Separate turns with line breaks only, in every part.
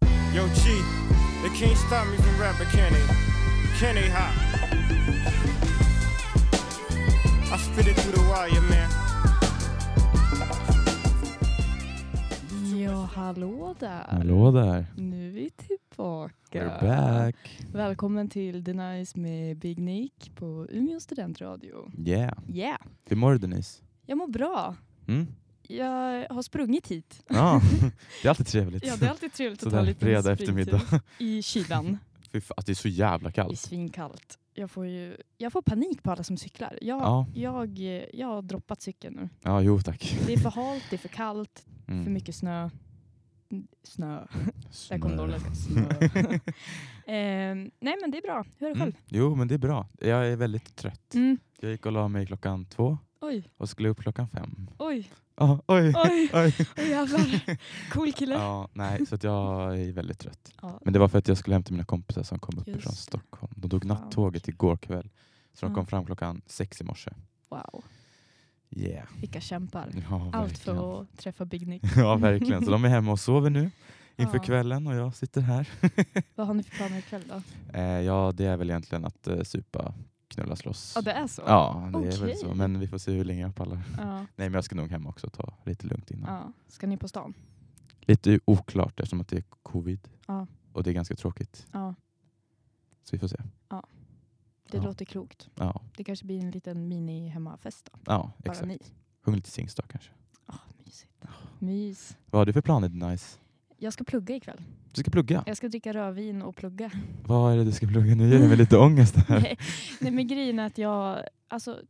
Yo, G, they can't stop me from rapping, can they? Can they, ha? I spit it through the wire, man.
Ja, hallå där.
Hallå där.
Nu är vi tillbaka.
We're back.
Välkommen till The Nice med Big Nick på Umeå studentradio.
Yeah.
Yeah,
Hur mår du Denise?
jag mår bra.
Mm?
Jag har sprungit hit.
Ja, det är alltid trevligt.
Ja, det är alltid trevligt att ta
Sådär
lite
fredag
springtur
eftermiddag.
I kylan.
Fy fan, alltså, det är så jävla
I
kallt.
svinkallt. Jag får, ju, jag får panik på alla som cyklar. Jag,
Ja,
jag, jag har droppat cykeln nu.
ja jo tack.
Det är för halt, det är för kallt,
Mm.
för mycket snö. Mm, Snö. Där kom
Snö.
norrländska. Snö. Ehm, nej men det är bra. Hur är det själv?
Mm. Jo, men det är bra. Jag är väldigt trött.
Mm.
Jag gick och la mig klockan två
Oj,
och skulle upp klockan fem.
oj,
Ah, oj,
Oj.
oj.
oj jävlar. Cool kille.
Ja, nej, så att jag är väldigt trött.
Ja.
Men det var för att jag skulle hämta mina kompisar som kom upp
Just
från
det.
Stockholm. De tog
Fan,
nattåget igår kväll. Så de
Ja.
kom fram klockan sex i morse.
Wow,
Yeah.
vilka kämpar.
Ja,
Allt
verkligen.
för att träffa Big Nick.
Ja, verkligen. Så de är hemma och sover nu inför
Ja.
kvällen och jag sitter här.
Vad har ni för planer ikväll då?
Eh, ja, det är väl egentligen att eh, supa, knulla, slåss.
Ja, det är så?
Ja, det är
Okej.
väl så. Men vi får se hur länge jag pallar.
Ja,
Nej, men jag ska nog hem också och ta lite lugnt innan.
ja. Ska ni på stan?
Lite oklart eftersom att det är covid
Ja.
och det är ganska tråkigt.
Ja,
Så vi får se.
det
Ja.
låter klokt.
Ja,
Det kanske blir en liten mini-hemmafest då,
ja
bara
exakt.
ni.
Sjung lite Sings då kanske.
Ah, mysigt. Mys.
Vad har du för planer Nice?
Jag ska plugga ikväll.
Du ska plugga.
Jag ska dricka rödvin och plugga.
Vad är det du ska plugga? Nu ger du mig lite ångest här.
Nej, nej men grejen är att jag, alltså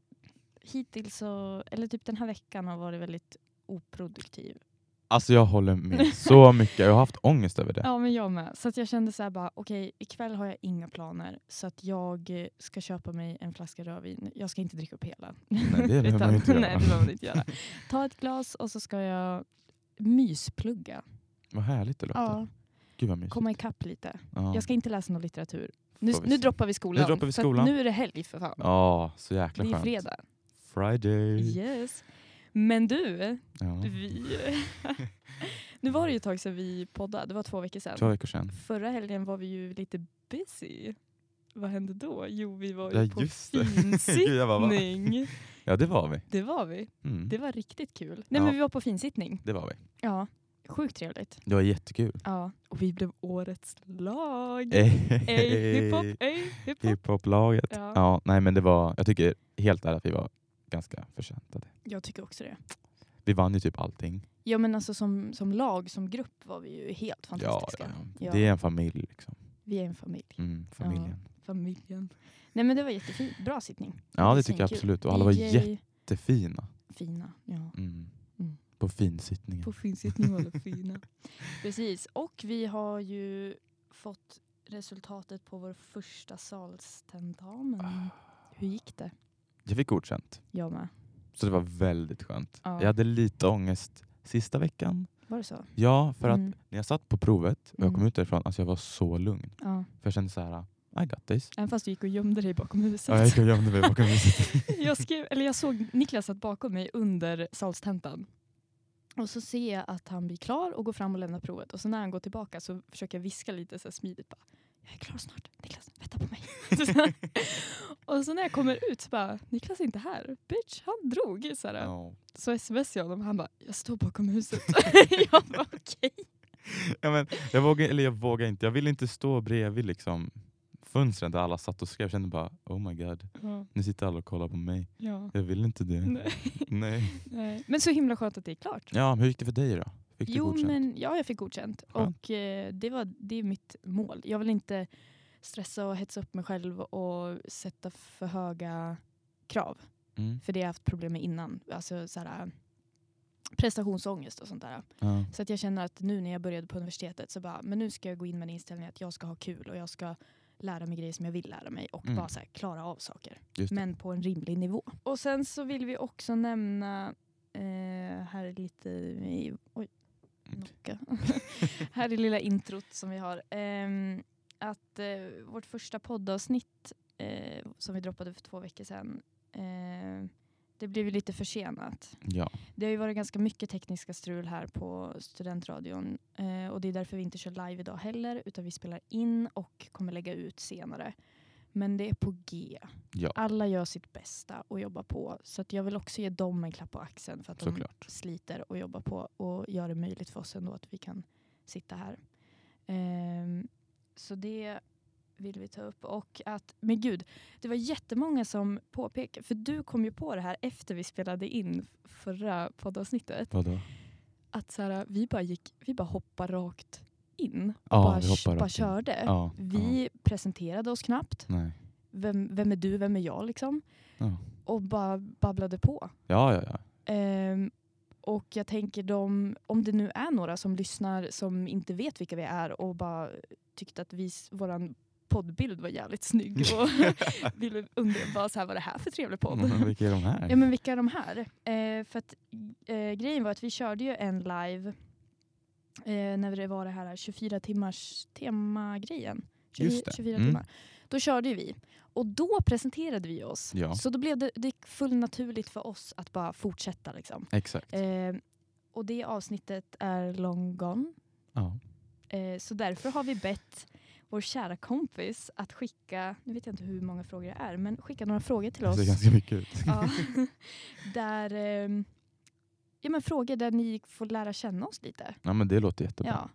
hittills så, eller typ den här veckan har varit väldigt oproduktiv.
Alltså jag håller med så mycket. Jag har haft ångest över det.
Ja men jag med. Så att jag kände så här bara, okej ikväll har jag inga planer så att jag eh, ska köpa mig en flaska rödvin. Jag ska inte dricka upp hela.
Nej, det behöver man ju inte göra.
Nej det behöver man inte göra. Ta ett glas och så ska jag mysplugga.
Vad härligt det låter.
Ja,
Gud vad mysigt.
komma ikapp lite.
Ja.
Jag ska inte läsa någon litteratur. Nu,
Får vi
nu
se.
droppar vi skolan.
Nu droppar vi
för att
skolan.
Nu är det helg för fan.
Ja, så jäkla
det är
skönt.
fredag.
Friday.
Yes. Men du,
Ja.
Vi... nu var det ju ett tag sedan vi poddade, det var två veckor sedan.
Två veckor sedan.
Förra helgen var vi ju lite busy. Vad hände då? Jo, vi var ju
Ja,
på
just det. Gud, jag bara, va?
finsittning.
Ja, det var vi.
det var vi.
Mm.
Det var riktigt kul. Nej,
Ja.
men vi var på finsittning.
Det var vi.
Ja, sjukt trevligt.
Det var jättekul.
Ja, och vi blev årets lag. Ey, hiphop,
Hey.
ey, hiphop.
Hiphop-laget.
Ja.
Ja, nej men det var, jag tycker helt ärligt att vi var ganska förtjänta.
Jag tycker också det.
Vi vann ju typ allting.
Ja, men alltså som, som lag, som grupp var vi ju helt
Ja,
fantastiska.
ja.
Ja.
Det är en familj liksom.
Vi är en familj.
Mm, familjen.
Familjen. Nej, men det var jättefint. Bra sittning.
Ja,
Det är
det tycker jag
svinkul.
absolut. Och alla var
DJ,
jättefina.
fina. Ja.
Mm.
Mm.
På finsittningen.
På finsittning var alla fina. Precis, och vi har ju fått resultatet på vår första salstentamen. Hur gick det?
Ah, Jag fick godkänt.
Jag med.
Så det var väldigt skönt.
Ja.
Jag hade lite ångest sista veckan.
Var det så?
Ja, för att
Mm.
när jag satt på provet och jag kom
Mm.
ut därifrån, alltså jag var så lugn.
Ja.
För jag kände så här, "Ah, I got this.
Även fast du gick och gömde dig bakom
Ja, jag
huset.
gick och gömde mig bakom huset.
jag, skrev, eller jag såg Niklas satt bakom mig under salstentan. Och så ser jag att han blir klar och går fram och lämnar provet. Och så när han går tillbaka så försöker jag viska lite så här smidigt. Bara, jag är klar snart. Niklas, vänta på mig. Så så här. och så när jag kommer ut så bara, Niklas är inte här. Bitch, han drog. Så, här.
Ja.
så smsar jag honom. Han bara, jag står bakom huset. jag bara, okej.
Ja, men jag vågar, eller jag vågar inte. Jag ville inte stå bredvid liksom, fönstren där alla satt och skrev. Jag kände bara, oh my god,
Ja,
nu sitter alla och kollar på mig.
ja.
Jag vill inte det.
Nej,
Nej.
nej. Men så himla skönt att det är klart.
Ja, men hur gick det för dig då? Fick du
jo,
godkänt?
men ja, jag fick godkänt.
Skönt.
Och eh, det, var, det är mitt mål. Jag vill inte stressa och hetsa upp mig själv och sätta för höga krav.
Mm.
För det har jag haft problem med innan. Alltså så här, prestationsångest och sånt där.
Ja.
Så att jag känner att nu när jag började på universitetet så bara, men nu ska jag gå in med en inställning att jag ska ha kul och jag ska lära mig grejer som jag vill lära mig och
Mm.
bara så här, klara av saker
Just det.
men på en rimlig nivå. Och sen så vill vi också nämna eh, här är lite i, oj,
Mm.
knocka. här är lilla introt som vi har. Ehm, att eh, vårt första poddavsnitt eh, som vi droppade för två veckor sedan eh, Det blev ju lite försenat.
Ja.
Det har ju varit ganska mycket tekniska strul här på studentradion eh, och det är därför vi inte kör live idag heller utan vi spelar in och kommer lägga ut senare. Men det är på G.
Ja.
Alla gör sitt bästa och jobbar på så att jag vill också ge dem en klapp på axeln för att de
Såklart.
sliter och jobbar på och gör det möjligt för oss ändå att vi kan sitta här. Ehm, så det vill vi ta upp. Och att, men gud, det var jättemånga som påpekade, för du kom ju på det här efter vi spelade in förra poddavsnittet,
Vadå?
att så här, vi bara gick, vi bara hoppade rakt in och
Ja,
bara,
vi hoppar
bara
rakt in.
körde.
Ja.
Vi presenterade oss knappt.
Ja. Nej.
Vem, vem är du, vem är jag liksom?
Ja.
Och bara babblade på.
Ja, ja, ja.
Ehm, och jag tänker de, om det nu är några som lyssnar som inte vet vilka vi är och bara tyckte att vi, s- våran poddbild var jävligt snygg och ville undra bara så här, vad är det här för trevlig podd?
Men Vilka är de här?
Ja men vilka är de här? Eh, för att eh, grejen var att vi körde ju en live eh, när det var det här 24 timmars temagrejen. 20,
Just det.
24
Mm.
timmar. Då körde ju vi och då presenterade vi oss.
Ja.
Så då blev det, det gick fullt naturligt för oss att bara fortsätta liksom.
Exakt.
Eh, och det avsnittet är long gone.
Ja.
Eh, så därför har vi bett vår kära kompis att skicka, nu vet jag inte hur många frågor det är, men skicka några frågor till
Det
oss.
ser ganska mycket ut.
Ja. där, ehm, ja, men frågor där ni får lära känna oss lite.
Ja, men det låter jättebra.
Ja.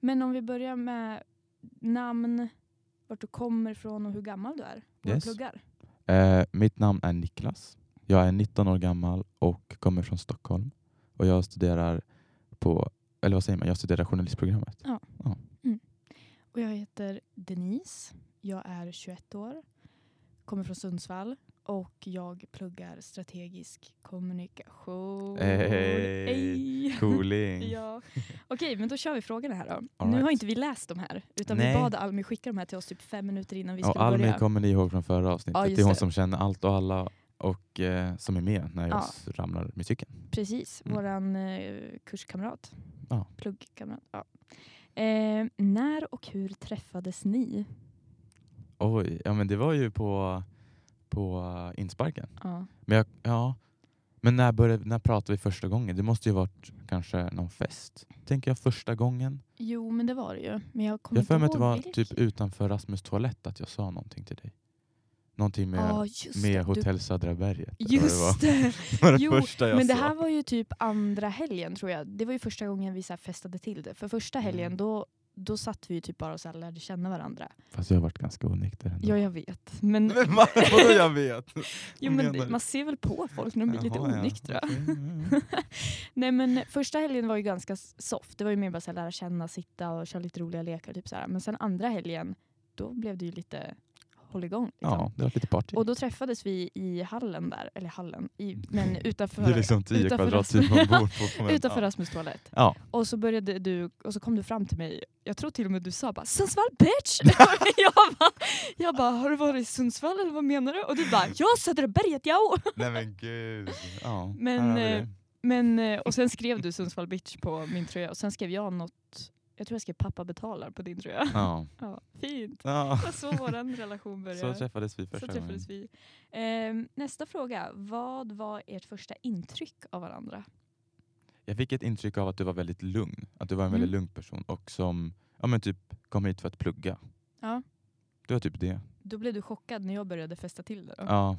Men om vi börjar med namn, vart du kommer ifrån och hur gammal du är. Vad
Yes.
du pluggar.
Eh, mitt namn är Niklas. Jag är 19 år gammal och kommer från Stockholm. Och jag studerar på, eller vad säger man, jag studerar journalistprogrammet.
Och jag heter Denise. Jag är 21 år, kommer från Sundsvall och jag pluggar strategisk kommunikation.
Hey.
Ey.
Cooling.
Ja. Okej, men då kör vi frågorna här då.
All
Nu har
right.
inte vi läst de här, utan
Nej.
vi bad Almi skicka de här till oss typ fem minuter innan vi skulle
och Almi
börja.
kommer ni ihåg från förra avsnittet.
Ja, just
det är hon
det.
som känner allt och alla och eh, som är med när jag
Ja.
s- ramlar med cykeln.
Precis,
Mm.
våran eh, kurskamrat.
Ja.
Pluggkamrat. Ja. Eh, när och hur träffades ni?
Oj, ja men det var ju på, på eh, insparken.
Ja.
Men, jag, ja. men när, började, när pratade vi första gången? Det måste ju varit kanske någon fest. Tänker jag första gången.
Jo, men det var det ju. Men jag kommer
Jag har för
inte
mig att det
ihåg
var
vilken.
typ utanför Rasmus toalett att jag sa någonting till dig. Någonting med,
Ja, just
med
det. Du-
Hotell Södra berget. eller vad
Just det!
Det var det
Jo,
första jag
Men det
sa.
här var ju typ andra helgen tror jag. Det var ju första gången vi så här festade till det. För första helgen
Mm.
då, då satt vi ju typ bara och så här lärde känna varandra.
Fast jag har varit ganska onykter ändå.
Ja, jag vet. Men,
Men va- Vadå jag vet?
jo,
vad
men
menar du?
man ser väl på folk när de blir lite
Jaha, ja.
onyktra.
Okej, ja, ja.
Nej men första helgen var ju ganska s- soft. Det var ju mer bara så här, lära känna, sitta och köra lite roliga lekar. Typ så här. Men sen andra helgen, då blev det ju lite hålligång. Liksom.
ja, typ. det var lite party.
Och då träffades vi i hallen där, eller hallen, i, men utanför,
det är liksom 10
utanför
kvadrat
Rasmus-
typ man bor på. men,
utanför
ja.
Rasmus toalett.
Ja.
Och så började du, och så kom du fram till mig. Jag tror till och med du sa bara Sundsvall bitch! Och jag, bara, jag bara, har du varit i Sundsvall eller vad menar du? Och du bara, ja Södra berget ja!
Nej men gud. Ja,
Men,
här har vi det.
eh, Men, eh, och sen skrev du Sundsvall bitch på min tröja och sen skrev jag något, jag tror jag skrev pappa betalar på din tröja.
ja.
Ja, fint.
Ja.
Och så vår relation
Så
började.
träffades vi
Så
första gången.
träffades vi. Ehm, nästa fråga, vad var ert första intryck av varandra?
Jag fick ett intryck av att du var väldigt lugn. Att du var en väldigt
Mm.
lugn person och som ja, men typ kom hit för att plugga.
Ja.
Det var typ det.
Då blev du chockad när jag började festa till det då.
Ja.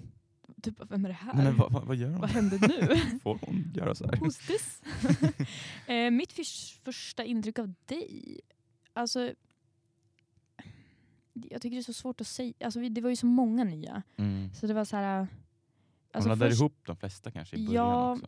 Typ, vem är det här?
Nej, men vad, vad, vad gör hon?
Vad hände nu?
Får hon göra så här?
Who's this? eh, mitt förs- första intryck av dig, alltså jag tycker det är så svårt att säga. Alltså, vi, det var ju så många nya.
Mm.
Så det var så här... äh, alltså
hon laddade
först,
ihop de flesta kanske i början
Ja,
också.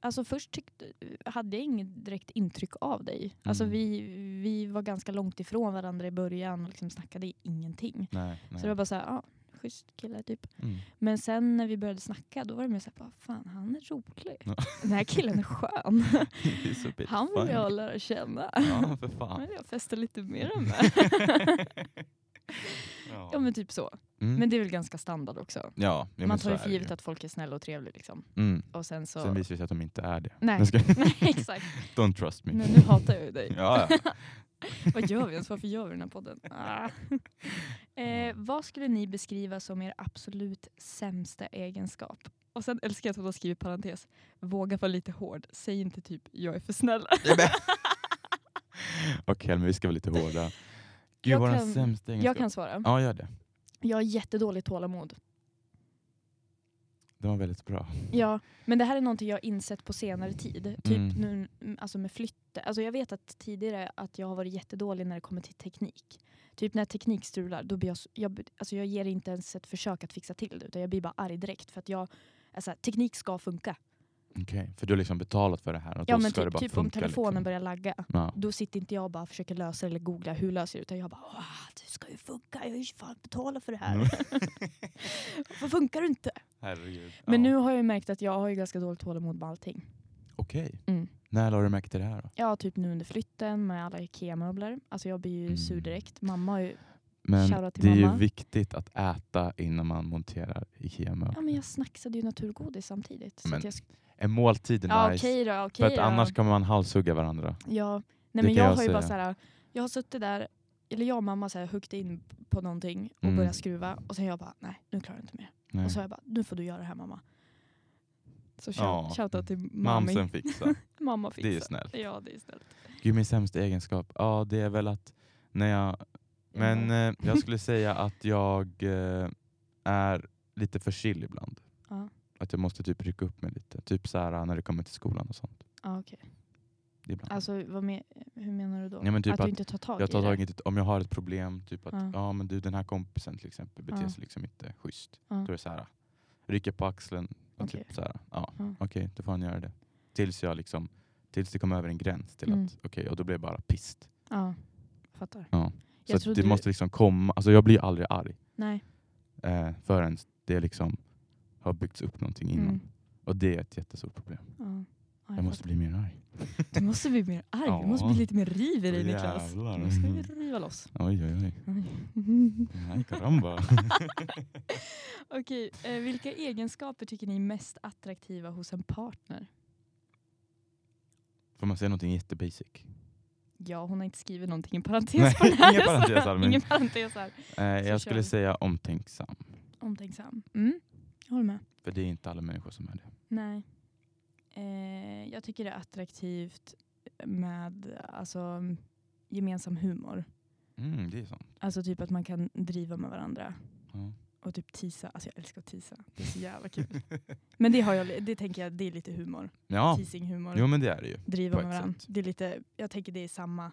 alltså först tyckte, hade jag inget direkt intryck av dig. Alltså
Mm.
vi, vi var ganska långt ifrån varandra i början och liksom snackade ingenting.
Nej, nej.
Så det var bara så här, ja, schysst kille typ.
mm.
Men sen när vi började snacka då var det mer så här, bara, fan han är rolig.
Ja.
Den här killen är skön.
He's a bit
Han vill
funny.
jag lära känna.
Ja, för
Han
fan.
vill jag festa lite mer med.
ja.
ja men typ så.
Mm.
Men det är väl ganska standard också.
ja, ja, men
Man
så
tar ju
är
för
det
givet att folk är snälla och trevliga liksom.
Mm.
Och sen så...
Sen visar det sig att de inte är det.
Nej.
Jag ska-
Nej exakt.
Don't trust me.
Men nu hatar jag ju dig.
ja, ja.
Vad gör vi ens? Varför gör vi den här podden? Ah. Eh, vad skulle ni beskriva som er absolut sämsta egenskap? Och sen älskar jag att hon har skrivit parentes. Våga vara lite hård. Säg inte typ jag är för snäll.
Okej, men vi ska vara lite hårda. Gud,
Jag
våran
kan-
sämsta egenskap.
Jag kan svara.
Ja, gör det.
Jag har jättedåligt tålamod.
Det var väldigt bra.
Ja, men det här är någonting jag har insett på senare tid. Typ
Mm.
nu, mm, alltså med flytte. Alltså jag vet att tidigare att jag har varit jättedålig när det kommer till teknik. Typ när teknik strular, då blir jag, s- jag, blir- alltså jag ger inte ens ett försök att fixa till det. Utan jag blir bara arg direkt. För att jag, alltså, teknik ska funka.
Okej, för du har liksom betalat för det här och
Ja
då
men
ska det
typ,
bara
typ
funka.
om telefonen
liksom.
börjar lagga.
Ja.
Då sitter inte jag och bara försöker lösa det eller googla hur löser jag det. Utan jag bara, "Åh, det ska ju funka. Jag har ju fan betalat för det här.
Mm.
Varför funkar det inte?
Herregud.
Men
ja.
nu har jag ju märkt att jag har ju ganska dåligt tålamod med allting.
Okej.
Mm.
När lade du märke till det här då?
Ja, typ nu under flytten med alla IKEA-möbler. Alltså jag blir ju
Mm.
sur direkt. Mamma har ju...
Men
Shoutout till
det är ju
mamma.
viktigt att äta innan man monterar IKEA-möbler.
Ja men jag snacksade ju naturgodis samtidigt. Så
Men
att jag... sk-
Är måltiden
Ja
nice?
okej då,
för
okej
att
då.
annars kan man halshugga varandra.
Ja. Nej
Det
men
kan
jag
jag
har ju bara
säga.
så här, jag har suttit där, eller jag och mamma så här huggde in på någonting och
Mm.
började skruva. Och sen jag bara, nej nu klarar jag inte mer.
Nej.
Och så har jag bara, nu får du göra det här mamma. Så
Ja.
shout- shoutout till mamma.
Mamsen fixar.
Mamma
Det är ju
fixar.
snällt.
Ja det är snällt.
Gud, min sämsta egenskap? Ja, det är väl att när jag... Men eh, jag skulle säga att jag eh, är lite för chill ibland.
Ja.
Att jag måste typ rycka upp mig lite. Typ så här när det kommer till skolan och sånt.
Ja, okej.
Det är Ibland.
Alltså vad me- hur menar du då?
Nej, men typ
att,
att
du inte tar tag
jag tar tag
i
i det. Om jag har ett problem, typ att
Ja.
ja. men du den här kompisen till exempel beter
Ja.
sig liksom inte schysst.
Ja.
Då är det så här, rycker på axeln och
Okej.
typ så här, ja
Ja.
okej, då får han göra det. Tills jag liksom, tills det kommer över en gräns till
Mm.
att okej, och då blir jag bara pist.
det. Ja, fattar.
Ja.
Jag
Så att
tror
det
du-
måste liksom komma, alltså jag blir ju aldrig arg
Nej.
eh, förrän det liksom har byggts upp någonting innan.
Mm.
Och det är ett jättestort problem.
Ja. Ja, jag
Jag måste
fattar.
bli mer arg.
Du måste bli mer arg, du måste
Ja.
bli lite mer riv i dig Niklas.
Jävlar.
Du måste bli riva loss.
Oj, oj, oj. Nej, caramba.
Okej, eh, vilka egenskaper tycker ni är mest attraktiva hos en partner?
Får man säga någonting jättebasic?
Ja, hon har inte skrivit någonting i parentes
Nej,
på den här.
ingen
så-
parentes här, men-
ingen parentes här.
Eh,
kör
jag
vi.
skulle säga omtänksam.
Omtänksam. Mm, jag håller med.
För det är inte alla människor som är det.
Nej. Eh, jag tycker det är attraktivt med alltså, mm, gemensam humor.
Mm, det är sant.
Alltså typ att man kan driva med varandra
Ja.
och typ tisa. Alltså jag älskar att tisa. Det är så jävla kul. Men det, har jag, det tänker jag, det är lite humor.
ja,
Teasing-humor.
jo men det är det ju.
driva
på
med
ett
varandra.
sätt.
Det är lite, jag tänker det är samma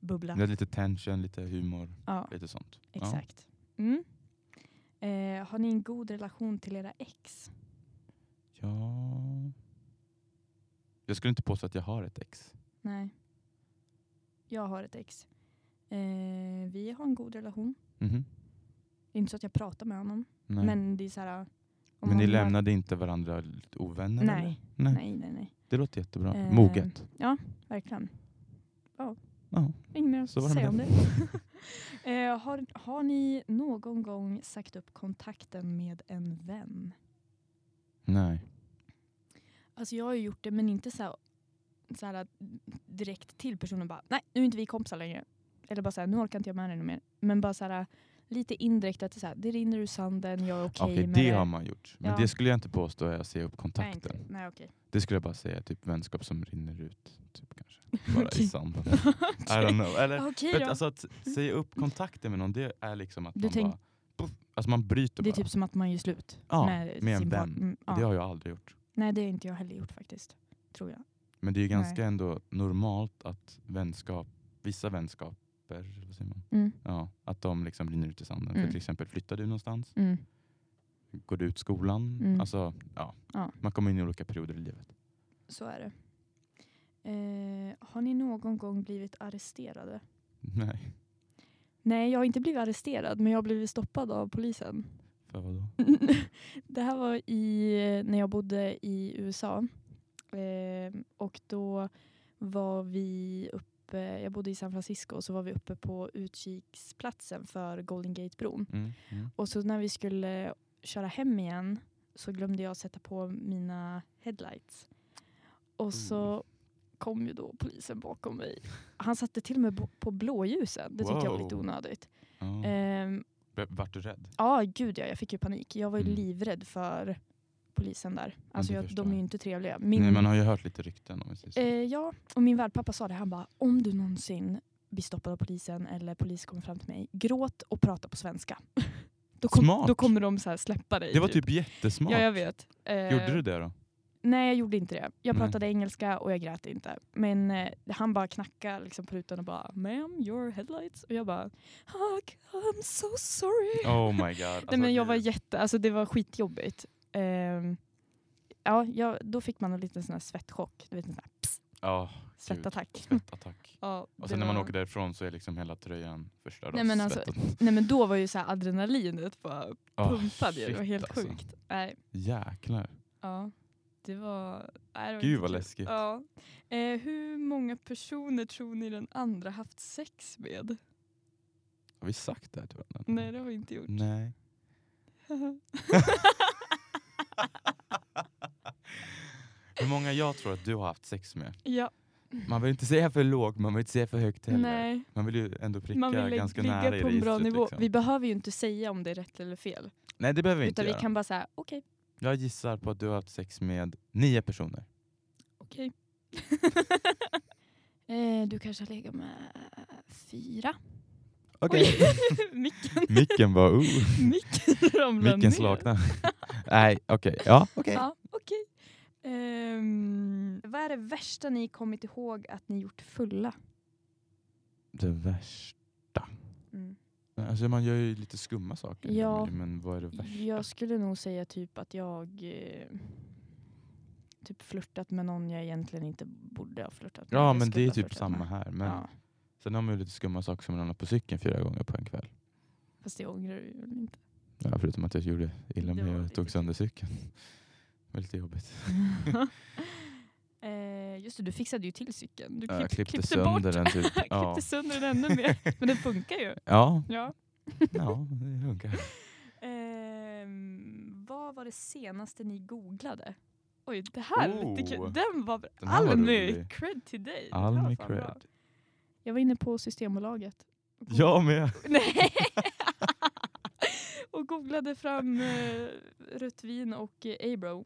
bubbla.
Det är lite tension, lite humor,
Ja,
lite sånt. Ja.
exakt. Mm. Eh, har ni en god relation till era ex?
Ja. Jag skulle inte påstå att jag har ett ex.
Nej. Jag har ett ex. Eh, vi har en god relation.
Mhm.
Det är inte så att jag pratar med honom.
Nej.
Men det är så här... om
men
man
ni
har-
lämnade inte varandra lite ovänner? eller?
Nej,
Nej.
nej, nej, nej.
Det låter jättebra.
Eh,
Moget.
Verkligen.
Ja.
Inget mer att
Så var det
säga om
med
det. eh, har, har ni någon gång sagt upp kontakten med en vän?
Nej.
Alltså jag har ju gjort det men inte så här, så här direkt till personen bara nej nu är inte vi kompisar längre. Eller bara så här, nu orkar inte jag med dig mer. Men bara så här lite indirekt att det, är så här, det rinner ur sanden, jag är okej
Okej,
med det.
det, har man gjort. Men
Ja.
det skulle jag inte påstå är att säga upp
Nej, inte.
kontakten.
Nej okej.
Det skulle jag bara säga typ vänskap som rinner ut. Typ, kanske. Bara
Okej.
i sanden. I don't know. Eller,
Okej
för
då. Mm.
att, alltså, att säga upp kontakten med någon, det är liksom att
Du
man
tänk-
bara... Puff, alltså man bryter
det är
bara.
typ som att man gör slut.
Ja,
med
med en
sin par-
vän.
Mm, ja.
Det har jag aldrig gjort.
Nej det har inte jag heller gjort faktiskt. Tror jag.
Men det är ju
Nej.
ganska ändå normalt att vänskap, vissa vänskaper, vad säger man?
Mm,
Ja, att de liksom rinner ut i sanden.
Mm.
För till exempel flyttar du någonstans,
mm.
går du ut skolan.
Mm.
Alltså, ja.
Ja.
Man kommer in i olika perioder i livet.
Så är det. Eh, har ni någon gång blivit arresterade?
Nej,
Nej jag har inte blivit arresterad men jag har blivit stoppad av polisen.
för vadå?
Det här var i, när jag bodde i USA. Eh, och då var vi uppe, jag bodde i San Francisco, så var vi uppe på utkiksplatsen för Golden Gate-bron.
Mm. Mm.
Och så när vi skulle köra hem igen så glömde jag sätta på mina headlights.
Mm.
Och så kom ju då polisen bakom mig. Han satte till och med bo- på blåljusen. Det tyckte jag var lite
Wow. Mm.
onödigt.
Ja.
Ehm,
B- Vart du rädd?
Ja, gud ja. Jag fick ju panik. Jag var ju
Mm.
livrädd för polisen där. Alltså
det
jag,
förstår
de är
jag.
ju inte trevliga. Min,
Nej, man har ju hört lite rykten om precis.
eh, ja, och min värdpappa sa det. Han bara, om du någonsin blir stoppad av polisen eller polisen kommer fram till mig, gråt och prata på svenska. då, kom,
Smart.
då kommer de så här släppa dig.
Det var typ jättesmart.
Ja, jag vet. Eh,
Gjorde du det då?
Nej, jag gjorde inte det. Jag
Nej.
pratade engelska och jag grät inte. Men eh, han bara knackade liksom, på rutan och bara “Ma'am, your headlights” och jag bara oh, “I'm so sorry”.
Oh my god. Alltså,
Nej, men jag
gud.
var jätte, alltså det var skitjobbigt. Ehm, ja, jag, då fick man en liten sån här svettchock, du vet en sån här pss,
Ja,
svettattack.
svettattack.
Ja,
Och
det
sen när man
var-
åker därifrån så är liksom hela tröjan förstörd
Nej,
av
men alltså,
svettet.
Nej men då var ju så här adrenalinet bara
Ah,
pumpade, ju. det var
shit,
helt
alltså.
sjukt. Nej,
Jäklar.
ja, det var... Nej, det var
Gud,
inte
vad
kul.
läskigt.
typ. Ja. Eh, hur många personer tror ni den andra haft sex med?
Har vi sagt det här till varandra?
Nej det har vi inte gjort.
Nej. Hur många jag tror att du har haft sex med?
ja,
Man vill inte säga för lågt, man vill inte säga för högt heller.
Mm. nej.
Man vill ju ändå pricka
Man vill
ganska
ligga
nära i
på en bra
registret,
nivå.
Liksom.
Vi behöver ju inte säga om det är rätt eller fel.
Nej det behöver vi inte
Utan vi
göra.
kan bara säga okej,
Jag gissar på att du har haft sex med nio personer.
okej. eh, du kanske har legat med fyra?
Okej.
Oj, Micken,
Micken var oh.
micken ramlade
Micken
ner.
slaknade. Nej okej, ja okej.
Ja, okej. Ehm, vad är det värsta ni kommit ihåg att ni gjort fulla?
Det värsta.
Mm.
Alltså man gör ju lite skumma saker.
Ja.
Men vad är det värsta?
Jag skulle nog säga typ att jag eh, typ flörtat med någon jag egentligen inte borde ha flörtat med.
Ja
eller
men det
skulle
är
ha
typ
flörtat
samma
med.
här. Men
Ja,
Sen har man ju lite skumma saker som man hamnar på cykeln fyra gånger på en kväll.
fast det ångrar du ju inte.
Ja, förutom att jag gjorde illa
Det
mig
var
och
lite
tog
kul.
sönder cykeln. Det var lite jobbigt.
Eh, just det, du fixade ju till cykeln. Du
Ja, jag
klipp,
klippte,
klippte
sönder
bort.
den typ.
klippte
Ja.
sönder den ännu mer. Men den funkar ju.
Ja,
Ja.
ja, det funkar.
Ehm, vad var det senaste ni googlade? Oj, det här var lite
Oh.
kul. Den var bra.
Den här var
Almi,
rolig.
cred till dig. Det här var
Almi
fan bra.
cred.
Jag var inne på Systembolaget. Och goog-
Jag med.
Nej! och googlade fram eh, rött vin och eh, Abro.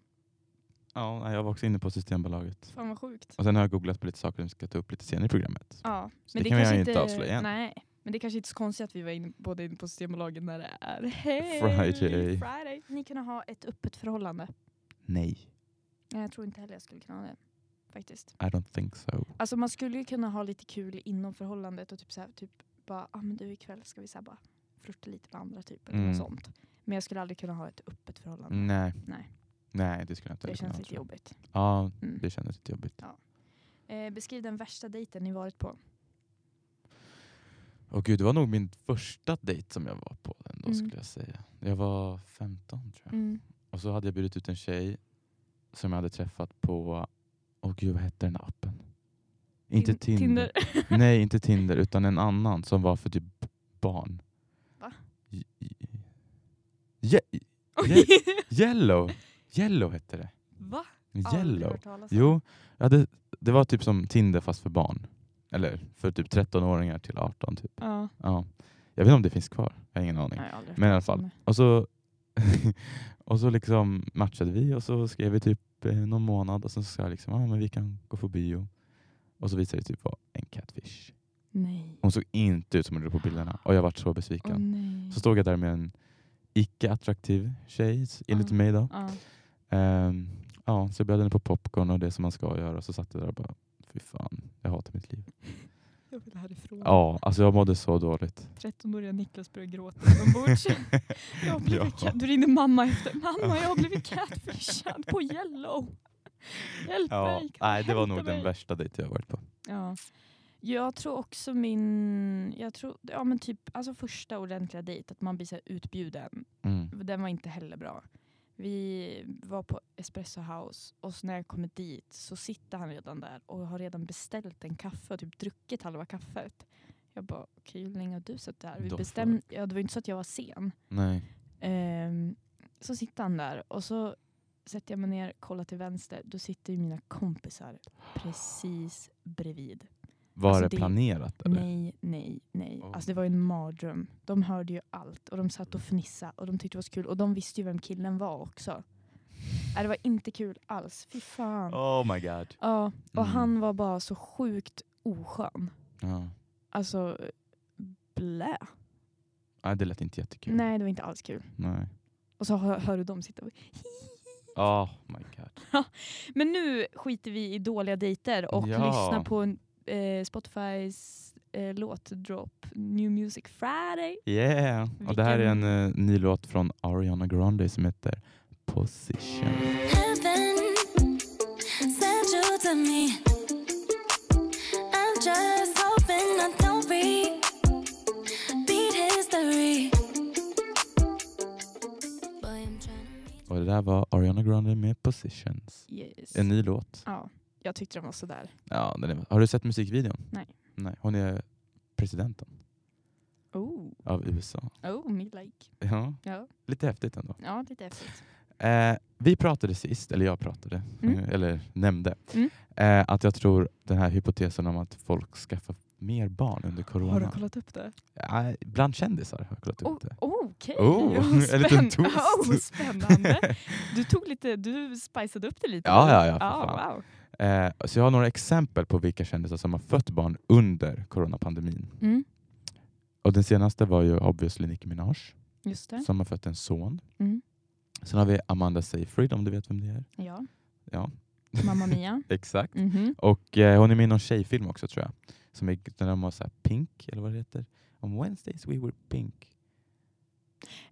Ja, nej, jag var också inne på Systembolaget.
Fan vad sjukt.
Och sen har jag googlat på lite saker som vi ska ta upp lite senare i programmet.
Ja,
Så det kan vi
kanske
ju inte avslöja än.
Nej, men det kanske inte är så konstigt att vi var inne, båda inne på Systembolaget när det är Hej,
Friday.
Friday. Ni kan ha ett öppet förhållande.
Nej,
Nej, jag tror inte heller jag skulle kunna ha det. Faktiskt.
I don't think so.
Alltså man skulle ju kunna ha lite kul inom förhållandet och typ så här, typ bara, ah, men du ikväll ska vi så här bara flirta lite med andra typer eller
Mm.
något sånt. Men jag skulle aldrig kunna ha ett öppet förhållande.
Nej.
Nej.
Nej, det skulle jag inte
det
heller kunna
känns
ha,
lite
tror jag.
jobbigt.
Ja,
Mm.
det kändes lite jobbigt.
Eh, beskriv den värsta dejten ni varit på.
Och gud, det var nog min första dejt som jag var på ändå
Mm.
skulle jag säga. Jag var 15 tror jag. Och så hade jag bjudit ut en tjej som jag hade träffat på, åh gud vad hette den där appen? Inte
Tin-
Tinder. Mm. Nej, inte Tinder utan en annan som var för typ barn.
Va?
J- j- Ye-
Oj,
Yellow! Yellow hette det.
va? Aldrig
Yellow.
hört talas om.
Jo, jag hade, det var typ som Tinder fast för barn. Eller för typ 13-åringar till 18 typ.
Ja.
Ja. Jag vet inte om det finns kvar, jag har ingen aning.
Nej, jag har aldrig hört
Men i alla
talas om
fall.
det.
Och så, och så liksom matchade vi och så skrev vi typ eh, någon månad och sen så sa jag liksom, ah, men vi kan gå på bio. Och så visade det typ vara en catfish.
Nej.
Hon såg inte ut som hon gjorde på bilderna och jag vart så besviken.
Åh nej.
Så stod jag där med en icke-attraktiv tjej, s- enligt
Ah.
mig då.
Ja.
Ehm, ja, så jag bjöd henne på popcorn och det som man ska göra och så satt jag där och bara, fy fan, jag hatar mitt liv.
Jag vill härifrån.
Ja, alltså jag mådde så dåligt.
13-åriga Niklas börjar gråta inombords. jag har blivit
Ja.
cat- Då ringde mamma efter. Mamma, jag har blivit catfishad på Yellow. Hjälp
Ja,
mig. kan
nej,
du
det var
hämta
nog den
mig?
värsta dejten jag varit på.
Ja. Jag tror också min, jag tror, ja men typ, alltså första ordentliga dejt, att man blir så här utbjuden.
Mm.
Den var inte heller bra. Vi var på Espresso House och så när jag kommer dit så sitter han redan där och har redan beställt en kaffe och typ druckit halva kaffet. Jag bara, okej hur länge har du suttit här? Vi
Då
bestäm- ja, det var ju inte så att jag var sen.
Nej.
Ehm, så sitter han där och så sätter jag mig ner, kollar till vänster. Då sitter ju mina kompisar precis bredvid.
Var
Alltså,
det
det-
planerat eller?
Nej, nej, nej.
Oh.
Alltså det var ju en mardröm. De hörde ju allt och de satt och fnissade och de tyckte det var så kul. Och de visste ju vem killen var också. Nej, det var inte kul alls. Fy fan. Ja,
Oh my god.
och
Mm.
han var bara så sjukt oskön.
Ja.
Alltså, blä.
Nej, det lät inte jättekul.
Nej, det var inte alls kul.
Nej.
Och så hör, hör du dem sitta och...
Oh my god.
Men nu skiter vi i dåliga dejter och
Ja.
lyssnar på en, eh, Spotifys eh, låtdrop New Music Friday.
Yeah. Och det här är en eh, ny låt från Ariana Grande som heter Position.
Heaven sent you to me. I'm just hoping I don't repeat history. Boy, I'm tryna reach-
Och det där var Ariana Grande med Positions.
Yes.
En ny låt.
Ja, jag tyckte den var sådär.
Ja, den är, har du sett musikvideon?
Nej.
Nej. Hon är presidenten
Oh,
av USA.
oh me like.
Ja,
Ja,
lite häftigt ändå.
ja lite häftigt.
Eh, vi pratade sist, eller jag pratade, eh,
Mm.
eller nämnde,
Mm.
eh, att jag tror den här hypotesen om att folk skaffar mer barn under corona.
Har du kollat upp det?
Eh, bland kändisar har jag kollat
Oh,
upp det.
Okej.
Oh, en
spänn-
liten twist.
Oh, spännande. Du tog lite, du spicade upp det lite.
Ja, ja, ja, för
Ja,
fan.
wow.
Eh, så jag har några exempel på vilka kändisar som har fött barn under coronapandemin.
Mm,
Och den senaste var ju obviously Nicki Minaj
just det.
som har fött en son.
Mm.
Sen har vi Amanda Seyfried om du vet vem det är.
Ja.
Ja.
Mamma Mia.
Exakt.
Mhm.
Och eh, hon är med i någon tjejfilm också tror jag. Som är, den där var så här Pink, eller vad det heter. Om Wednesdays we were pink.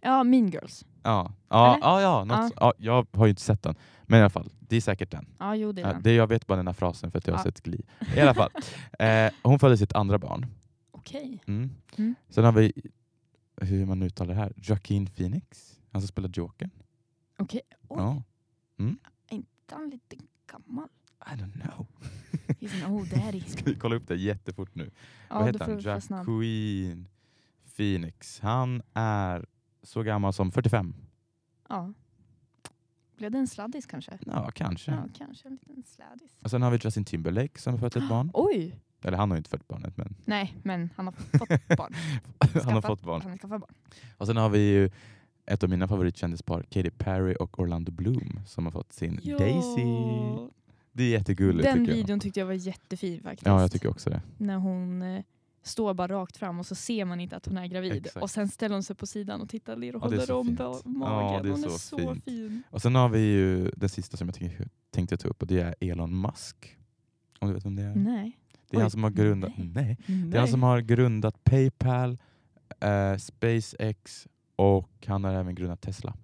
Ja, Mean Girls.
Ja, ja,
Eller?
ja, ja, något, ja. jag har ju inte sett den. Men i alla fall, det är säkert den.
Ja, jo det är
Ja,
den.
det jag vet bara den här frasen för att jag har
Ja.
sett Glee. I alla fall. Eh, hon födde sitt andra barn.
Okej.
Mm.
Mm.
Sen har vi, hur man uttalar det här, Joaquin Phoenix. Han som spelar Jokern.
Okej. Oj,
Ja.
är han lite gammal? Oh,
I don't know.
He's an old daddy.
Ska vi kolla upp det jättefort nu?
Ja,
Vad
du
heter
får
han?
vara snabb.
Joaquin Phoenix. Han är så gammal som 45.
Ja. Blev det en sladdis kanske?
Ja, kanske.
Ja, kanske en liten sladdis.
Och sen har vi Justin Timberlake som har fött ett barn.
Oj!
Eller han har ju inte fött barnet, men
Nej, men han har fått barn.
han har
Skaffat-
fått barn.
Han har skaffat barn.
Och sen har vi ju ett av mina favoritkändispar, Katy Perry och Orlando Bloom, som har fått sin Daisy.
Ja.
Det är jättegulligt
Den
tycker jag.
videon tyckte jag var jättefin faktiskt.
Ja, jag tycker också det.
När hon eh, står bara rakt fram och så ser man inte att hon är gravid.
Exakt.
Och sen ställer hon sig på sidan och tittar ner och
Ja, det är
håller
så
om
fint.
ba- magen.
Ja, det är
hon är
så
så
fint.
fin.
Och sen har vi ju den sista som jag tänkte, tänkte ta upp och det är Elon Musk. Om du vet vem det är?
Nej.
Det är han
Oj,
som har grundat...
nej.
nej.
Nej.
Det är alltså han som har grundat Paypal, eh, SpaceX och han har även grundat Tesla.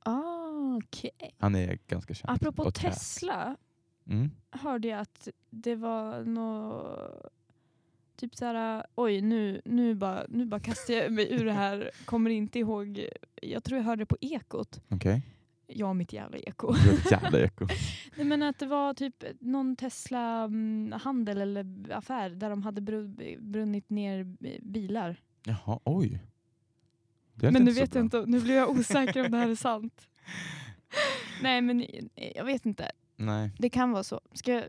ah, okej.
Han är ganska känd.
Apropå
och trä.
Tesla
Mm.
hörde jag att det var nå Typ såhär, oj nu, nu, bara, nu bara kastar jag mig ur det här, kommer inte ihåg. Jag tror jag hörde det på Ekot.
Okej.
Jag och mitt jävla Eko.
Det var ett jävla eko.
Nej men att det var typ någon Tesla-handel eller affär där de hade bru- brunnit ner b- bilar.
Jaha, oj. Det lät
men nu
så
vet
bra.
jag inte, nu blir jag osäker om det här är sant. Nej men eh, jag vet inte,
Nej.
det kan vara så. Ska jag,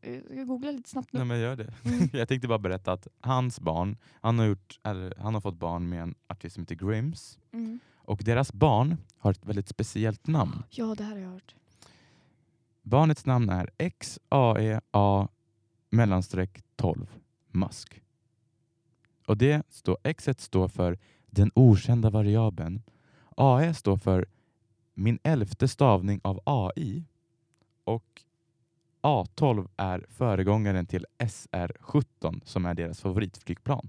eh, ska jag googla lite snabbt nu?
Nej, men gör det.
Mm.
Jag tänkte bara berätta att hans barn, han har, gjort, eller, han har fått barn med en artist som heter Grims.
Mm.
Och deras barn har ett väldigt speciellt namn.
Ja det här har jag hört.
Barnets namn är XAEA mellanstreck 12 Musk. Och det står, X står för den okända variabeln. AE står för min elfte stavning av AI. Och A12 är föregångaren till SR17 som är deras favoritflygplan.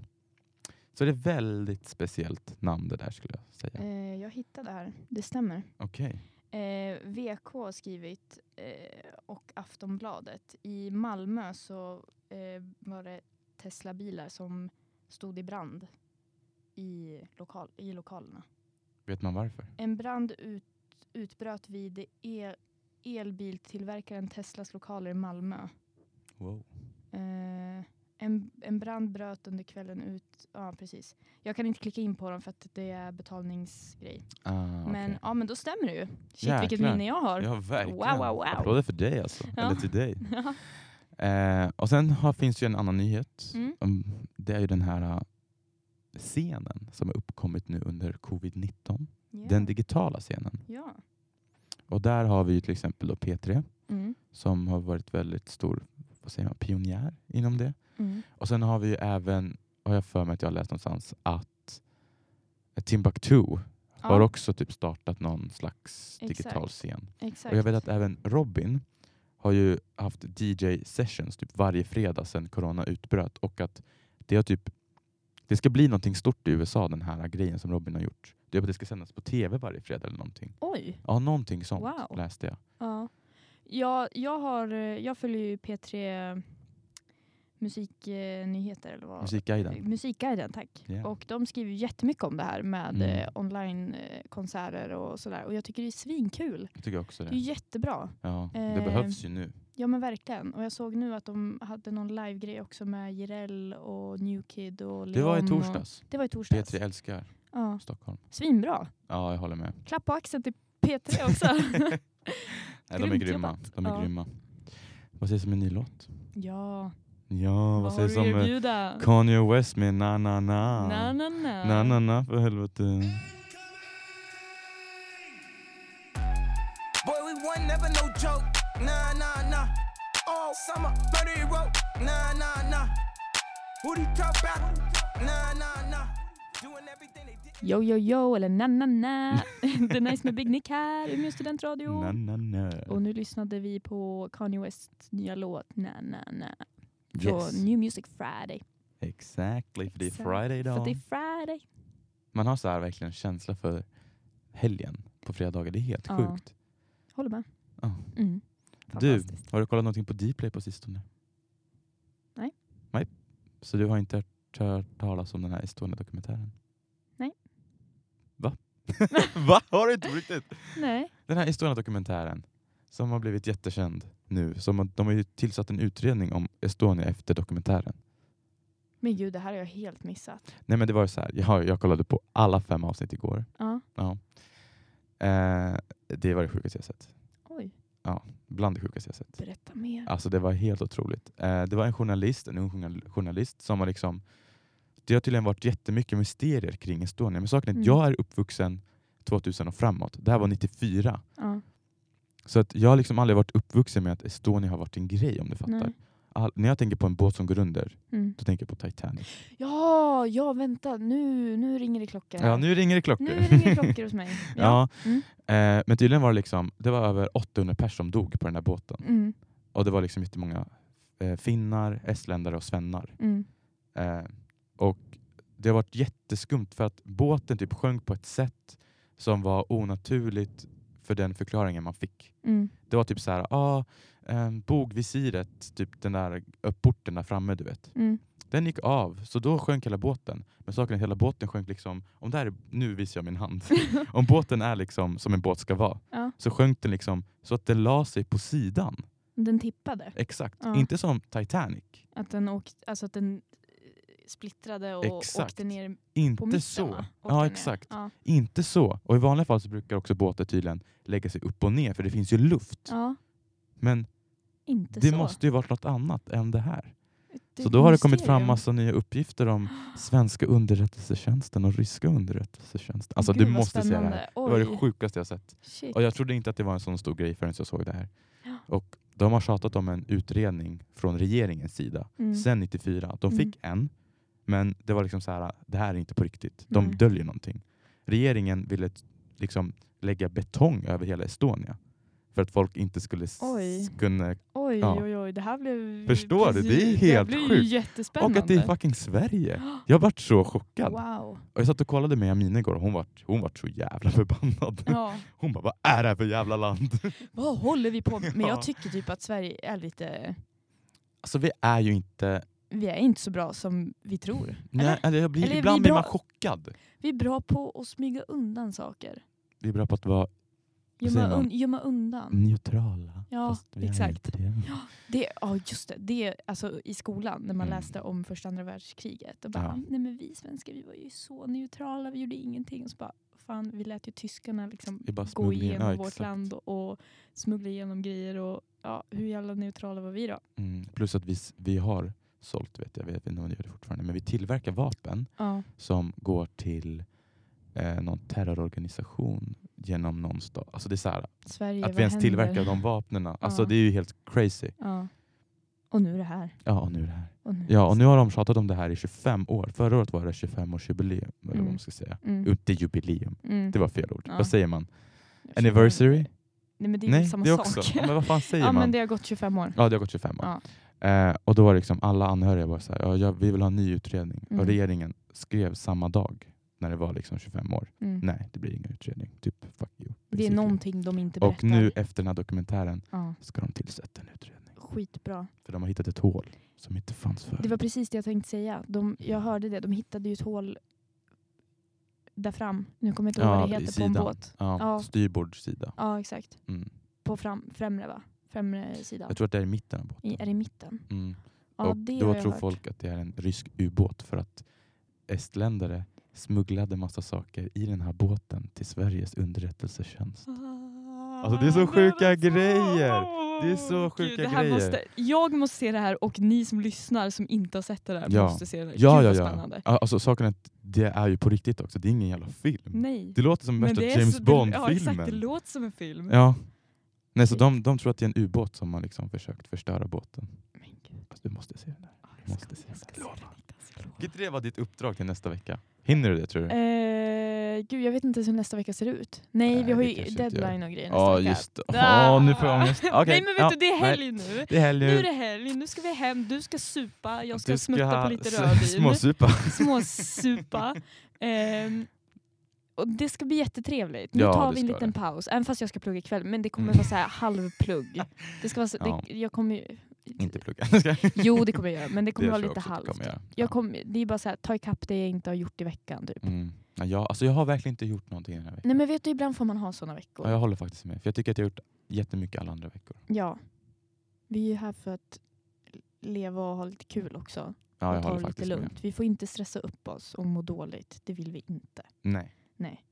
Så det är väldigt speciellt namn det där skulle jag säga.
Eh, jag hittade här, det stämmer.
Okej.
Eh, VK har skrivit eh, och Aftonbladet. I Malmö så eh, var det Tesla-bilar som stod i brand i, lokal, i lokalerna.
Vet man varför?
En brand ut, utbröt vid el, elbiltillverkaren Teslas lokaler i Malmö.
Wow.
Eh, en, en brand bröt under kvällen ut. Ja, precis. Jag kan inte klicka in på dem för att det är betalningsgrej.
Ah,
Men,
okej.
ja, men då stämmer det ju. Shit, vilket
Jäklar.
minne jag har.
Ja, verkligen.
Wow, wow, wow.
Applåder för dig alltså.
Ja.
Eller till dig.
Ja.
Eh, och sen har, finns ju en annan nyhet.
Mm.
Mm, Det är ju den här eh, scenen som har uppkommit nu under covid-19.
Ja.
Den digitala scenen.
ja.
Och där har vi ju till exempel då P3
Mm.
som har varit väldigt stor vad säger man, pionjär inom det.
Mm.
Och sen har vi ju även, har jag för mig att jag har läst någonstans, att Timbuktu har
Ja,
också typ startat någon slags digital
Exakt.
scen.
exakt.
Och jag vet att även Robin har ju haft DJ-sessions typ varje fredag sedan corona utbröt och att det har typ det ska bli någonting stort i USA, den här grejen som Robin har gjort. Det är att det ska sändas på tv varje fredag eller någonting.
Oj!
Ja, någonting sånt
Wow.
läste jag.
Ja. Jag, jag, har, eh, jag följer ju P3 Musiknyheter eller vad? eh,
Musikguiden.
Musikguiden, tack.
Ja.
Och de skriver ju jättemycket om det här med
Mm.
eh, onlinekonserter och sådär. Och jag tycker det är svinkul.
Jag tycker också
Det är ju
det.
jättebra.
Ja, det
Eh,
behövs ju nu.
Ja men verkligen. Och jag såg nu att de hade någon livegrej också med Jireel och New Kid och Leon.
Det var i
Och...
torsdags.
Det var i torsdags.
P3 älskar
Ja.
Stockholm.
Svinbra.
Ja, jag håller med.
Klapp på axeln till P3 också.
Nej, de är
Grymt
grymma.
jobbat.
De är
Ja.
grymma. Vad sägs om en ny låt?
ja,
Ja, vad
vad har
sägs
du
om eh, Ah.
erbjuda?
Kanye West med Na Na Na?
Na, na, na.
Na na na för helvete.
Boy, we one never no joke. Nah, nah, nah. All summer, murder he wrote. Nah, nah, nah. Who they talk about? Nah, nah, nah. Doing everything they did.
Yo, yo, yo, eller na, na, na. The Nice med Big Nick här, Umeå studentradio.
Na na na.
Och nu lyssnade vi på Kanye Wests nya låt Na, na, na. Från
Yes.
New Music Friday.
Exactly, för det är
Exakt.
Friday
För att det
idag.
är Friday.
Man har så här verkligen känsla för helgen på fredagar. Det är helt
Ja.
sjukt.
Håller med.
Ja.
Mm.
Du,
Fantastiskt.
har du kollat någonting på Dplay på sistone?
Nej.
Nej. Så du har inte hört- hört talas om den här Estonia-dokumentären?
Nej.
Va? Va? Har du inte på riktigt?
Nej.
Den här Estonia-dokumentären som har blivit jättekänd nu. Som har, de har ju tillsatt en utredning om Estonia efter dokumentären.
Men gud, det här har jag helt missat.
Nej men det var ju så här, jag, jag kollade på alla fem avsnitt igår.
Ja.
Eh, det var det sjukaste jag sett.
Oj,
Bland det sjukaste jag sett.
berätta mer.
Alltså det var helt otroligt. Eh, det var en journalist, en ung journal- journalist som har liksom... Det har tydligen varit jättemycket mysterier kring Estonia. Men saken är
Mm.
att jag är uppvuxen 2000 och framåt. Det här var 94.
Ja.
Så att jag har liksom aldrig varit uppvuxen med att Estonia har varit en grej om du fattar.
Nej.
All, när jag tänker på en båt som går under,
Mm.
då tänker jag på Titanic.
Ja, ja, vänta. Nu, nu ringer det klockor. här.
Ja, nu ringer det klockor.
nu ringer klockor hos mig.
ja.
Mm.
Eh, men tydligen var det liksom, det var över 800 personer som dog på den där båten.
Mm,
Och det var liksom jättemånga eh, finnar, estländare och svennar.
mm,
Eh, och det har varit jätteskumt för att båten typ sjönk på ett sätt som var onaturligt för den förklaringen man fick.
mm,
Det var typ så här, ah, eh, bogvisiret, typ den där porten där framme du vet.
mm.
Den gick av, så då sjönk hela båten. Men saken är att hela båten sjönk liksom, om det här är, nu visar jag min hand. om båten är liksom som en båt ska vara,
Ja.
så sjönk den liksom så att den la sig på sidan.
Den tippade.
Exakt,
Ja.
inte som Titanic.
Att den, åkt, alltså att den eh, splittrade och
Exakt.
åkte ner på
Inte
mitten.
så.
va? Åkte
Ja,
ner.
exakt.
Ja.
Inte så. Och i vanliga fall så brukar också båtar tydligen lägga sig upp och ner för det finns ju luft.
ja,
Men
inte
det
så.
måste ju varit något annat än det här.
Det är
så
ett
då har det kommit
mysterium.
fram massa nya uppgifter om svenska underrättelsetjänsten och ryska underrättelsetjänsten. Alltså
Gud,
du
vad
måste se det här.
spännande.
Det var det
Oj,
sjukaste jag sett.
shit.
Och jag trodde inte att det var en sån stor grej förrän jag såg det här.
Ja.
Och de har tjatat om en utredning från regeringens sida
Mm.
sen 94. De
Mm.
fick en, men det var liksom så här, det här är inte på riktigt. De
Nej.
döljer någonting. Regeringen ville t- liksom lägga betong över hela Estonia för att folk inte skulle s-
Oj.
kunna...
Oj,
Ja.
oj, oj, det här blev...
Förstår du? Det är
här
helt
blev ju
sjukt.
jättespännande.
Och att det är fucking Sverige! Jag vart så chockad.
Wow.
Och jag satt och kollade med Amina igår och hon vart, hon vart så jävla förbannad.
Ja.
Hon bara, vad är det här för jävla land?
Vad håller vi på med? Men
Ja.
jag tycker typ att Sverige är lite...
Alltså vi är ju inte...
Vi är inte så bra som vi tror.
Nej, eller jag blir,
Eller är vi
ibland blir man
bra?
chockad.
Vi är bra på att smyga undan saker.
Vi är bra på att vara Vad säger
Gömma,
man?
un, gömma undan.
neutrala.
Ja,
fast vi är
exakt.
inte det.
Det, ja just det, det alltså, i skolan när man
Mm.
läste om första andra världskriget. Och bara, "Ah,
Ja.
nej men vi svenskar vi var ju så neutrala, vi gjorde ingenting. Och så bara, fan vi lät ju tyskarna liksom
Det är bara
gå
smuggling. Ja,
igenom vårt
exakt.
land och, och smuggla igenom grejer. Och, ja, hur jävla neutrala var vi då?
Mm. Plus att vi, s- vi har sålt, vet jag, jag vet inte om ni gör det fortfarande, men vi tillverkar vapen
Ja,
som går till eh, någon terrororganisation genom någon stat. Alltså det är så här,
Sverige,
att
vad
vi ens
händer?
tillverkar de vapnen. Alltså
Ja.
det är ju helt crazy.
Ja. Och nu är det här.
Ja, och nu är det här.
Och nu.
Ja, och nu har de tjatat om det här i 25 år. Förra året var det 25-årsjubileum, eller vad
Mm.
man ska säga.
Mm.
Inte jubileum,
Mm.
det var fel ord.
Ja.
Vad säger man? Anniversary?
Nej men det är
Nej,
väl samma
det är
sak.
också. Ja, men vad fan säger
ja
man?
men det har gått 25 år.
Ja, det har gått 25 år.
Ja.
Eh, och då var liksom alla anhöriga bara så här, ja, jag- vi vill ha en ny utredning.
Mm.
Och regeringen skrev samma dag när det var liksom 25 år.
Mm.
Nej, det blir ingen utredning. Typ fuck you.
Det är
basically.
någonting de inte berättar.
Och nu efter den här dokumentären
Ja,
ska de tillsätta en utredning.
skitbra.
För de har hittat ett hål som inte fanns förut.
Det var precis det jag tänkte säga. De, jag hörde det. De hittade ju ett hål där fram. Nu kommer jag inte ihåg vad det
i
heter på en
sidan.
båt.
Ja,
Ja.
Styrbordssida.
Ja, exakt.
Mm.
På fram, främre va? Främre sidan.
Jag tror att det är i mitten av båten.
I, är det i mitten?
Mm.
Ja,
och
det
då
har jag
tror
hört.
folk att det är en rysk ubåt för att estländare smugglade massa saker i den här båten till Sveriges underrättelsetjänst.
Ah,
Alltså, det är så sjuka grejer. Det är så
Gud,
sjuka
det här
grejer.
Måste, jag måste se det här och ni som lyssnar som inte har sett det där
Ja.
måste se det. här.
Ja,
Gud,
ja,
vad
ja.
spännande.
Ja, Alltså, saken är att det är ju på riktigt också. Det är ingen jävla film.
Nej.
Mm. Det låter som värsta
det är så-
James
det- Ja, exakt. Det
Bond-filmen.
låter som en film.
Ja. Nej, så de, de tror att det är en ubåt som har liksom försökt förstöra båten.
Men gud.
Alltså, du måste se den där.
Ja, jag
Måste
ska-
se
jag ska
det. Lova.
se den, Niklas. Lova.
Kan inte det vara ditt uppdrag till nästa vecka? Hinner du det tror du?
Eh, gud, jag vet inte ens hur nästa vecka ser ut. Nej,
Mm. Nej,
vi har
det
ju
kanske inte gör.
deadline och grejer nästa
Ja,
vecka.
just det.
Ah.
Ja, nu får jag ångest. Okej,
Nej men vet
ja,
du, det är
nej.
helg nu.
Det är helg
Nu är det helg, nu ska vi hem, du ska supa, jag ska, smutta på lite rödvin.
Småsupa.
Småsupa. Ehm, och det ska bli jättetrevligt. Nu
Ja,
tar
det
vi en
ska
liten
det.
paus, även fast jag ska plugga ikväll. Men det kommer
Mm.
vara så här halvplugg. Det ska vara så,
Ja.
det, jag kommer, ju-
Inte plugga. Jag ska-
jo det kommer jag göra, men det kommer
tror
vara
jag
lite
också att det
halvt.
kommer göra. Ja.
Jag kommer, det är bara så här, ta ikapp det jag inte har gjort i veckan typ.
Mm. Ja, jag, alltså jag har verkligen inte gjort någonting den här veckan.
Nej men vet du, ibland får man ha såna veckor.
ja, jag håller faktiskt med. För jag tycker att jag har gjort jättemycket alla andra veckor.
Ja. Vi är ju här för att leva och ha lite kul också.
Ja, jag
och ta det
håller
lite
faktiskt
lugnt.
med.
Vi får inte stressa upp oss och må dåligt. Det vill vi inte.
Nej.
Nej.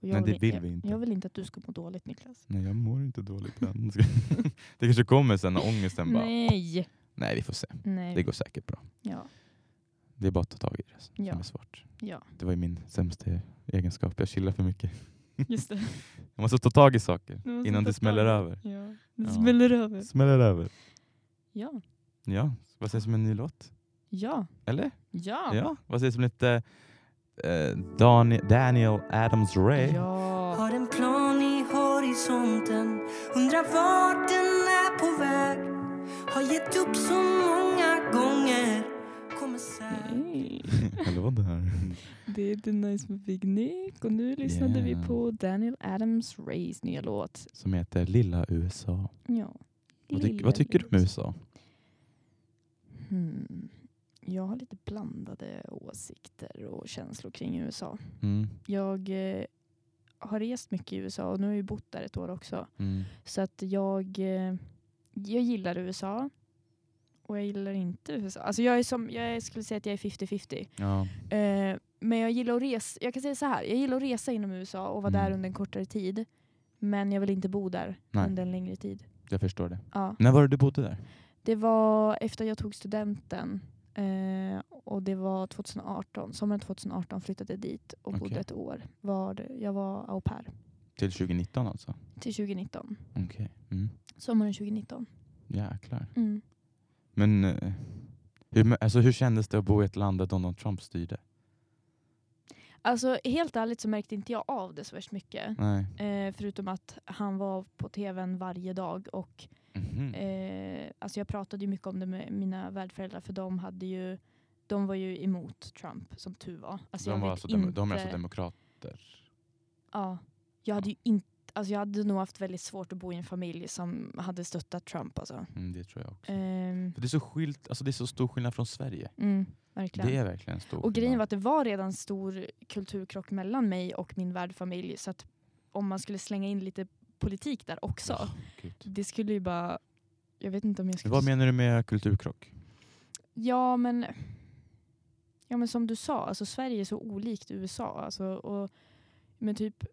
Och
Nej, det vill
jag,
vi inte.
Jag vill inte att du ska må dåligt Niklas.
Nej, jag mår inte dåligt än. det kanske kommer sen när ångesten bara... Nej.
Nej!
vi får se.
Nej.
Det går säkert bra.
Ja.
Det är bara att ta tag i det som
Ja.
är svårt.
ja,
Det var ju min sämsta egenskap. Jag chillar för mycket.
just det.
Jag måste ta tag i saker
Du måste
innan
ta
det smäller
tag.
över.
Ja. Det
Ja.
smäller över.
Smäller över.
Ja.
Ja, vad sägs om en ny låt?
Ja.
Eller?
Ja.
Ja, vad sägs om lite eh, Dan- Daniel Adams Ray?
Ja.
Har en plan i horisonten Undrar vart den är på väg Har gett upp så många gånger Kommer säkert
Nej.
Eller vad det här?
Det är The Nice med Big Nick och nu lyssnade
Yeah.
vi på Daniel Adams Rays nya låt.
Som heter Lilla USA.
Ja.
Vad, tyck-
Lilla
vad tycker du om
Louise.
USA?
Hmm. Jag har lite blandade åsikter och känslor kring USA.
Mm,
Jag eh, har rest mycket i USA och nu har jag ju bott där ett år också.
mm,
Så att jag, eh, jag gillar USA och jag gillar inte USA. Alltså jag, är som, jag skulle säga att jag är 50-50.
ja.
Eh, men jag gillar att resa, jag kan säga så här, jag gillar att resa inom USA och vara
Mm.
där under en kortare tid. Men jag vill inte bo där
Nej.
under en längre tid.
Jag förstår det.
Ja.
När var det du bodde där?
Det var efter jag tog studenten eh, och det var 2018. Sommaren 2018 flyttade jag dit och bodde
Okej.
ett år. Var, jag var au pair
Till 2019 alltså?
till 2019.
Okej. Mm.
Sommaren 2019.
Jäklar.
Mm.
Men eh, hur, alltså, hur kändes det att bo i ett land där Donald Trump styrde?
Alltså helt ärligt så märkte inte jag av det så värst mycket.
Nej.
Eh, förutom att han var på tvn varje dag och
Mhm.
eh, alltså jag pratade ju mycket om det med mina värdföräldrar för de hade ju de var ju emot Trump som tur var. Alltså jag
de, var
vet
alltså dem- de är
inte-
alltså demokrater?
Ja. Jag hade ju inte, alltså jag hade nog haft väldigt svårt att bo i en familj som hade stöttat Trump alltså.
Mm, det tror jag också.
Ehm,
För det, är så skilt, alltså, det är så stor skillnad från Sverige.
mm, verkligen.
Det är verkligen en stor
och grejen
skillnad.
var att det var redan stor kulturkrock mellan mig och min värdfamilj så att om man skulle slänga in lite politik där också,
Åh, gud.
det skulle ju bara, jag vet inte om jag skulle...
Vad menar du med kulturkrock?
Ja men, ja men som du sa, alltså Sverige är så olikt USA. Alltså, och, men typ,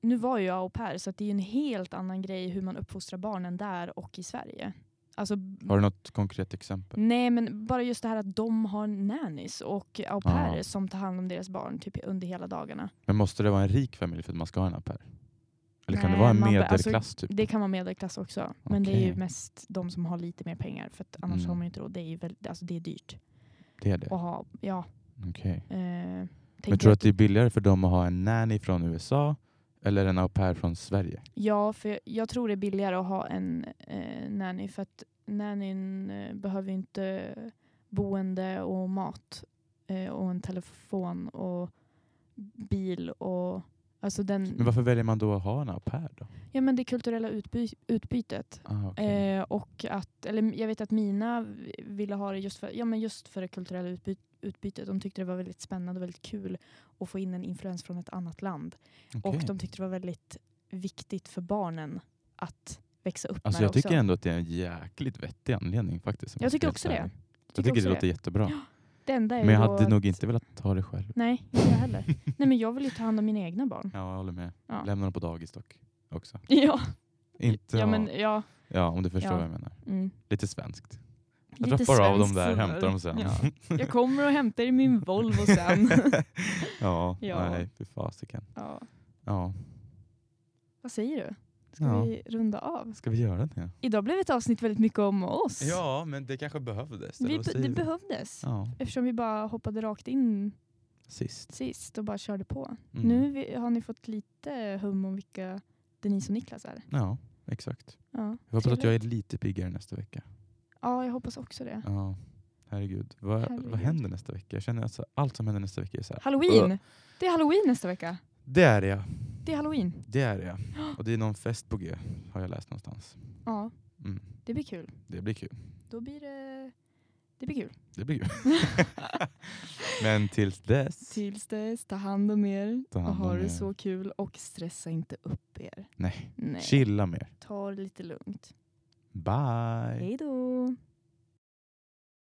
nu var ju jag au pair så att det är ju en helt annan grej hur man uppfostrar barnen där och i Sverige. Alltså,
Har du något konkret exempel?
nej men bara just det här att de har nannies och au pairer
Ja.
som tar hand om deras barn typ, under hela dagarna.
Men måste det vara en rik familj för att man ska ha en au pair? Eller kan det
Nej,
vara en
man be- alltså,
medelklass typ?
Det kan vara medelklass också. Men det är ju
Okej.
mest de som har lite mer pengar. För att annars
Mm.
har man ju inte råd. Det är ju väldigt, alltså det är dyrt.
Det är det?
Att ha, ja.
Okej.
Eh,
Men
tänker
tror du
jag
att det är billigare för dem att ha en nanny från USA eller en au pair från Sverige?
Ja, för jag, jag tror det är billigare att ha en eh, nanny för att nannyn eh, behöver ju inte boende och mat eh, och en telefon och bil och alltså den,
Men varför väljer man då att ha en au pair då?
ja, men det kulturella utby utbytet.
Ah, okej.
Eh, och att, eller jag vet att mina v- ville ha det just för, ja, men just för det kulturella utby utbytet. De tyckte det var väldigt spännande och väldigt kul att få in en influens från ett annat land.
Okej.
Och de tyckte det var väldigt viktigt för barnen att växa upp
Alltså
med
jag tycker
också.
ändå att det är en jäkligt vettig anledning faktiskt. om
Jag
ska
tycker
vara
också
helt
det.
ärlig.
Jag
Jag tycker det
också
låter jättebra.
Det enda är
Men jag
ju då
hade
att,
nog inte velat ta det själv.
Nej, inte jag heller. Nej, men jag vill ju ta hand om mina egna barn.
Ja, jag håller med.
Ja.
Lämna dem på dagis dock. Också.
Ja,
Inte
ja
ha-
men ja.
ja, om du förstår
ja.
vad jag menar.
Mm.
Lite svenskt. Jag
Lite
droppar av dem
svenskt
där,
sådär.
hämtar dem sen.
Ja. Jag kommer och hämtar i min Volvo sen.
ja,
Ja.
nej fy fasiken.
Ja.
Ja.
Vad säger du? Ska
Ja.
vi runda av?
Ska vi göra det?
Idag blev ett avsnitt väldigt mycket om oss.
Ja, men det kanske behövdes.
vi, det behövdes.
Ja,
Eftersom vi bara hoppade rakt in
sist.
sist och bara körde på.
Mm.
Nu vi- har ni fått lite hum om vilka Denise och Niklas är.
Ja, exakt.
Ja,
Jag hoppas att jag är lite piggare nästa vecka.
ja jag hoppas också det.
Ja, herregud. Vad,
Herregud.
vad händer nästa vecka? Jag känner att så- allt som händer nästa vecka är så här.
Halloween!
Ugh.
Det är halloween nästa vecka.
Det är jag.
Det är halloween.
Det är jag. Och det är någon fest på G, har jag läst någonstans.
Ja,
Mm.
det blir kul.
Det blir kul.
Då blir det... Det blir kul.
Det blir kul. Men tills dess.
Tills dess, ta hand om er
Ta hand
och ha
om er.
det så kul och stressa inte upp er.
Nej.
Nej,
Chilla mer.
ta det lite lugnt.
Bye.
Hej då!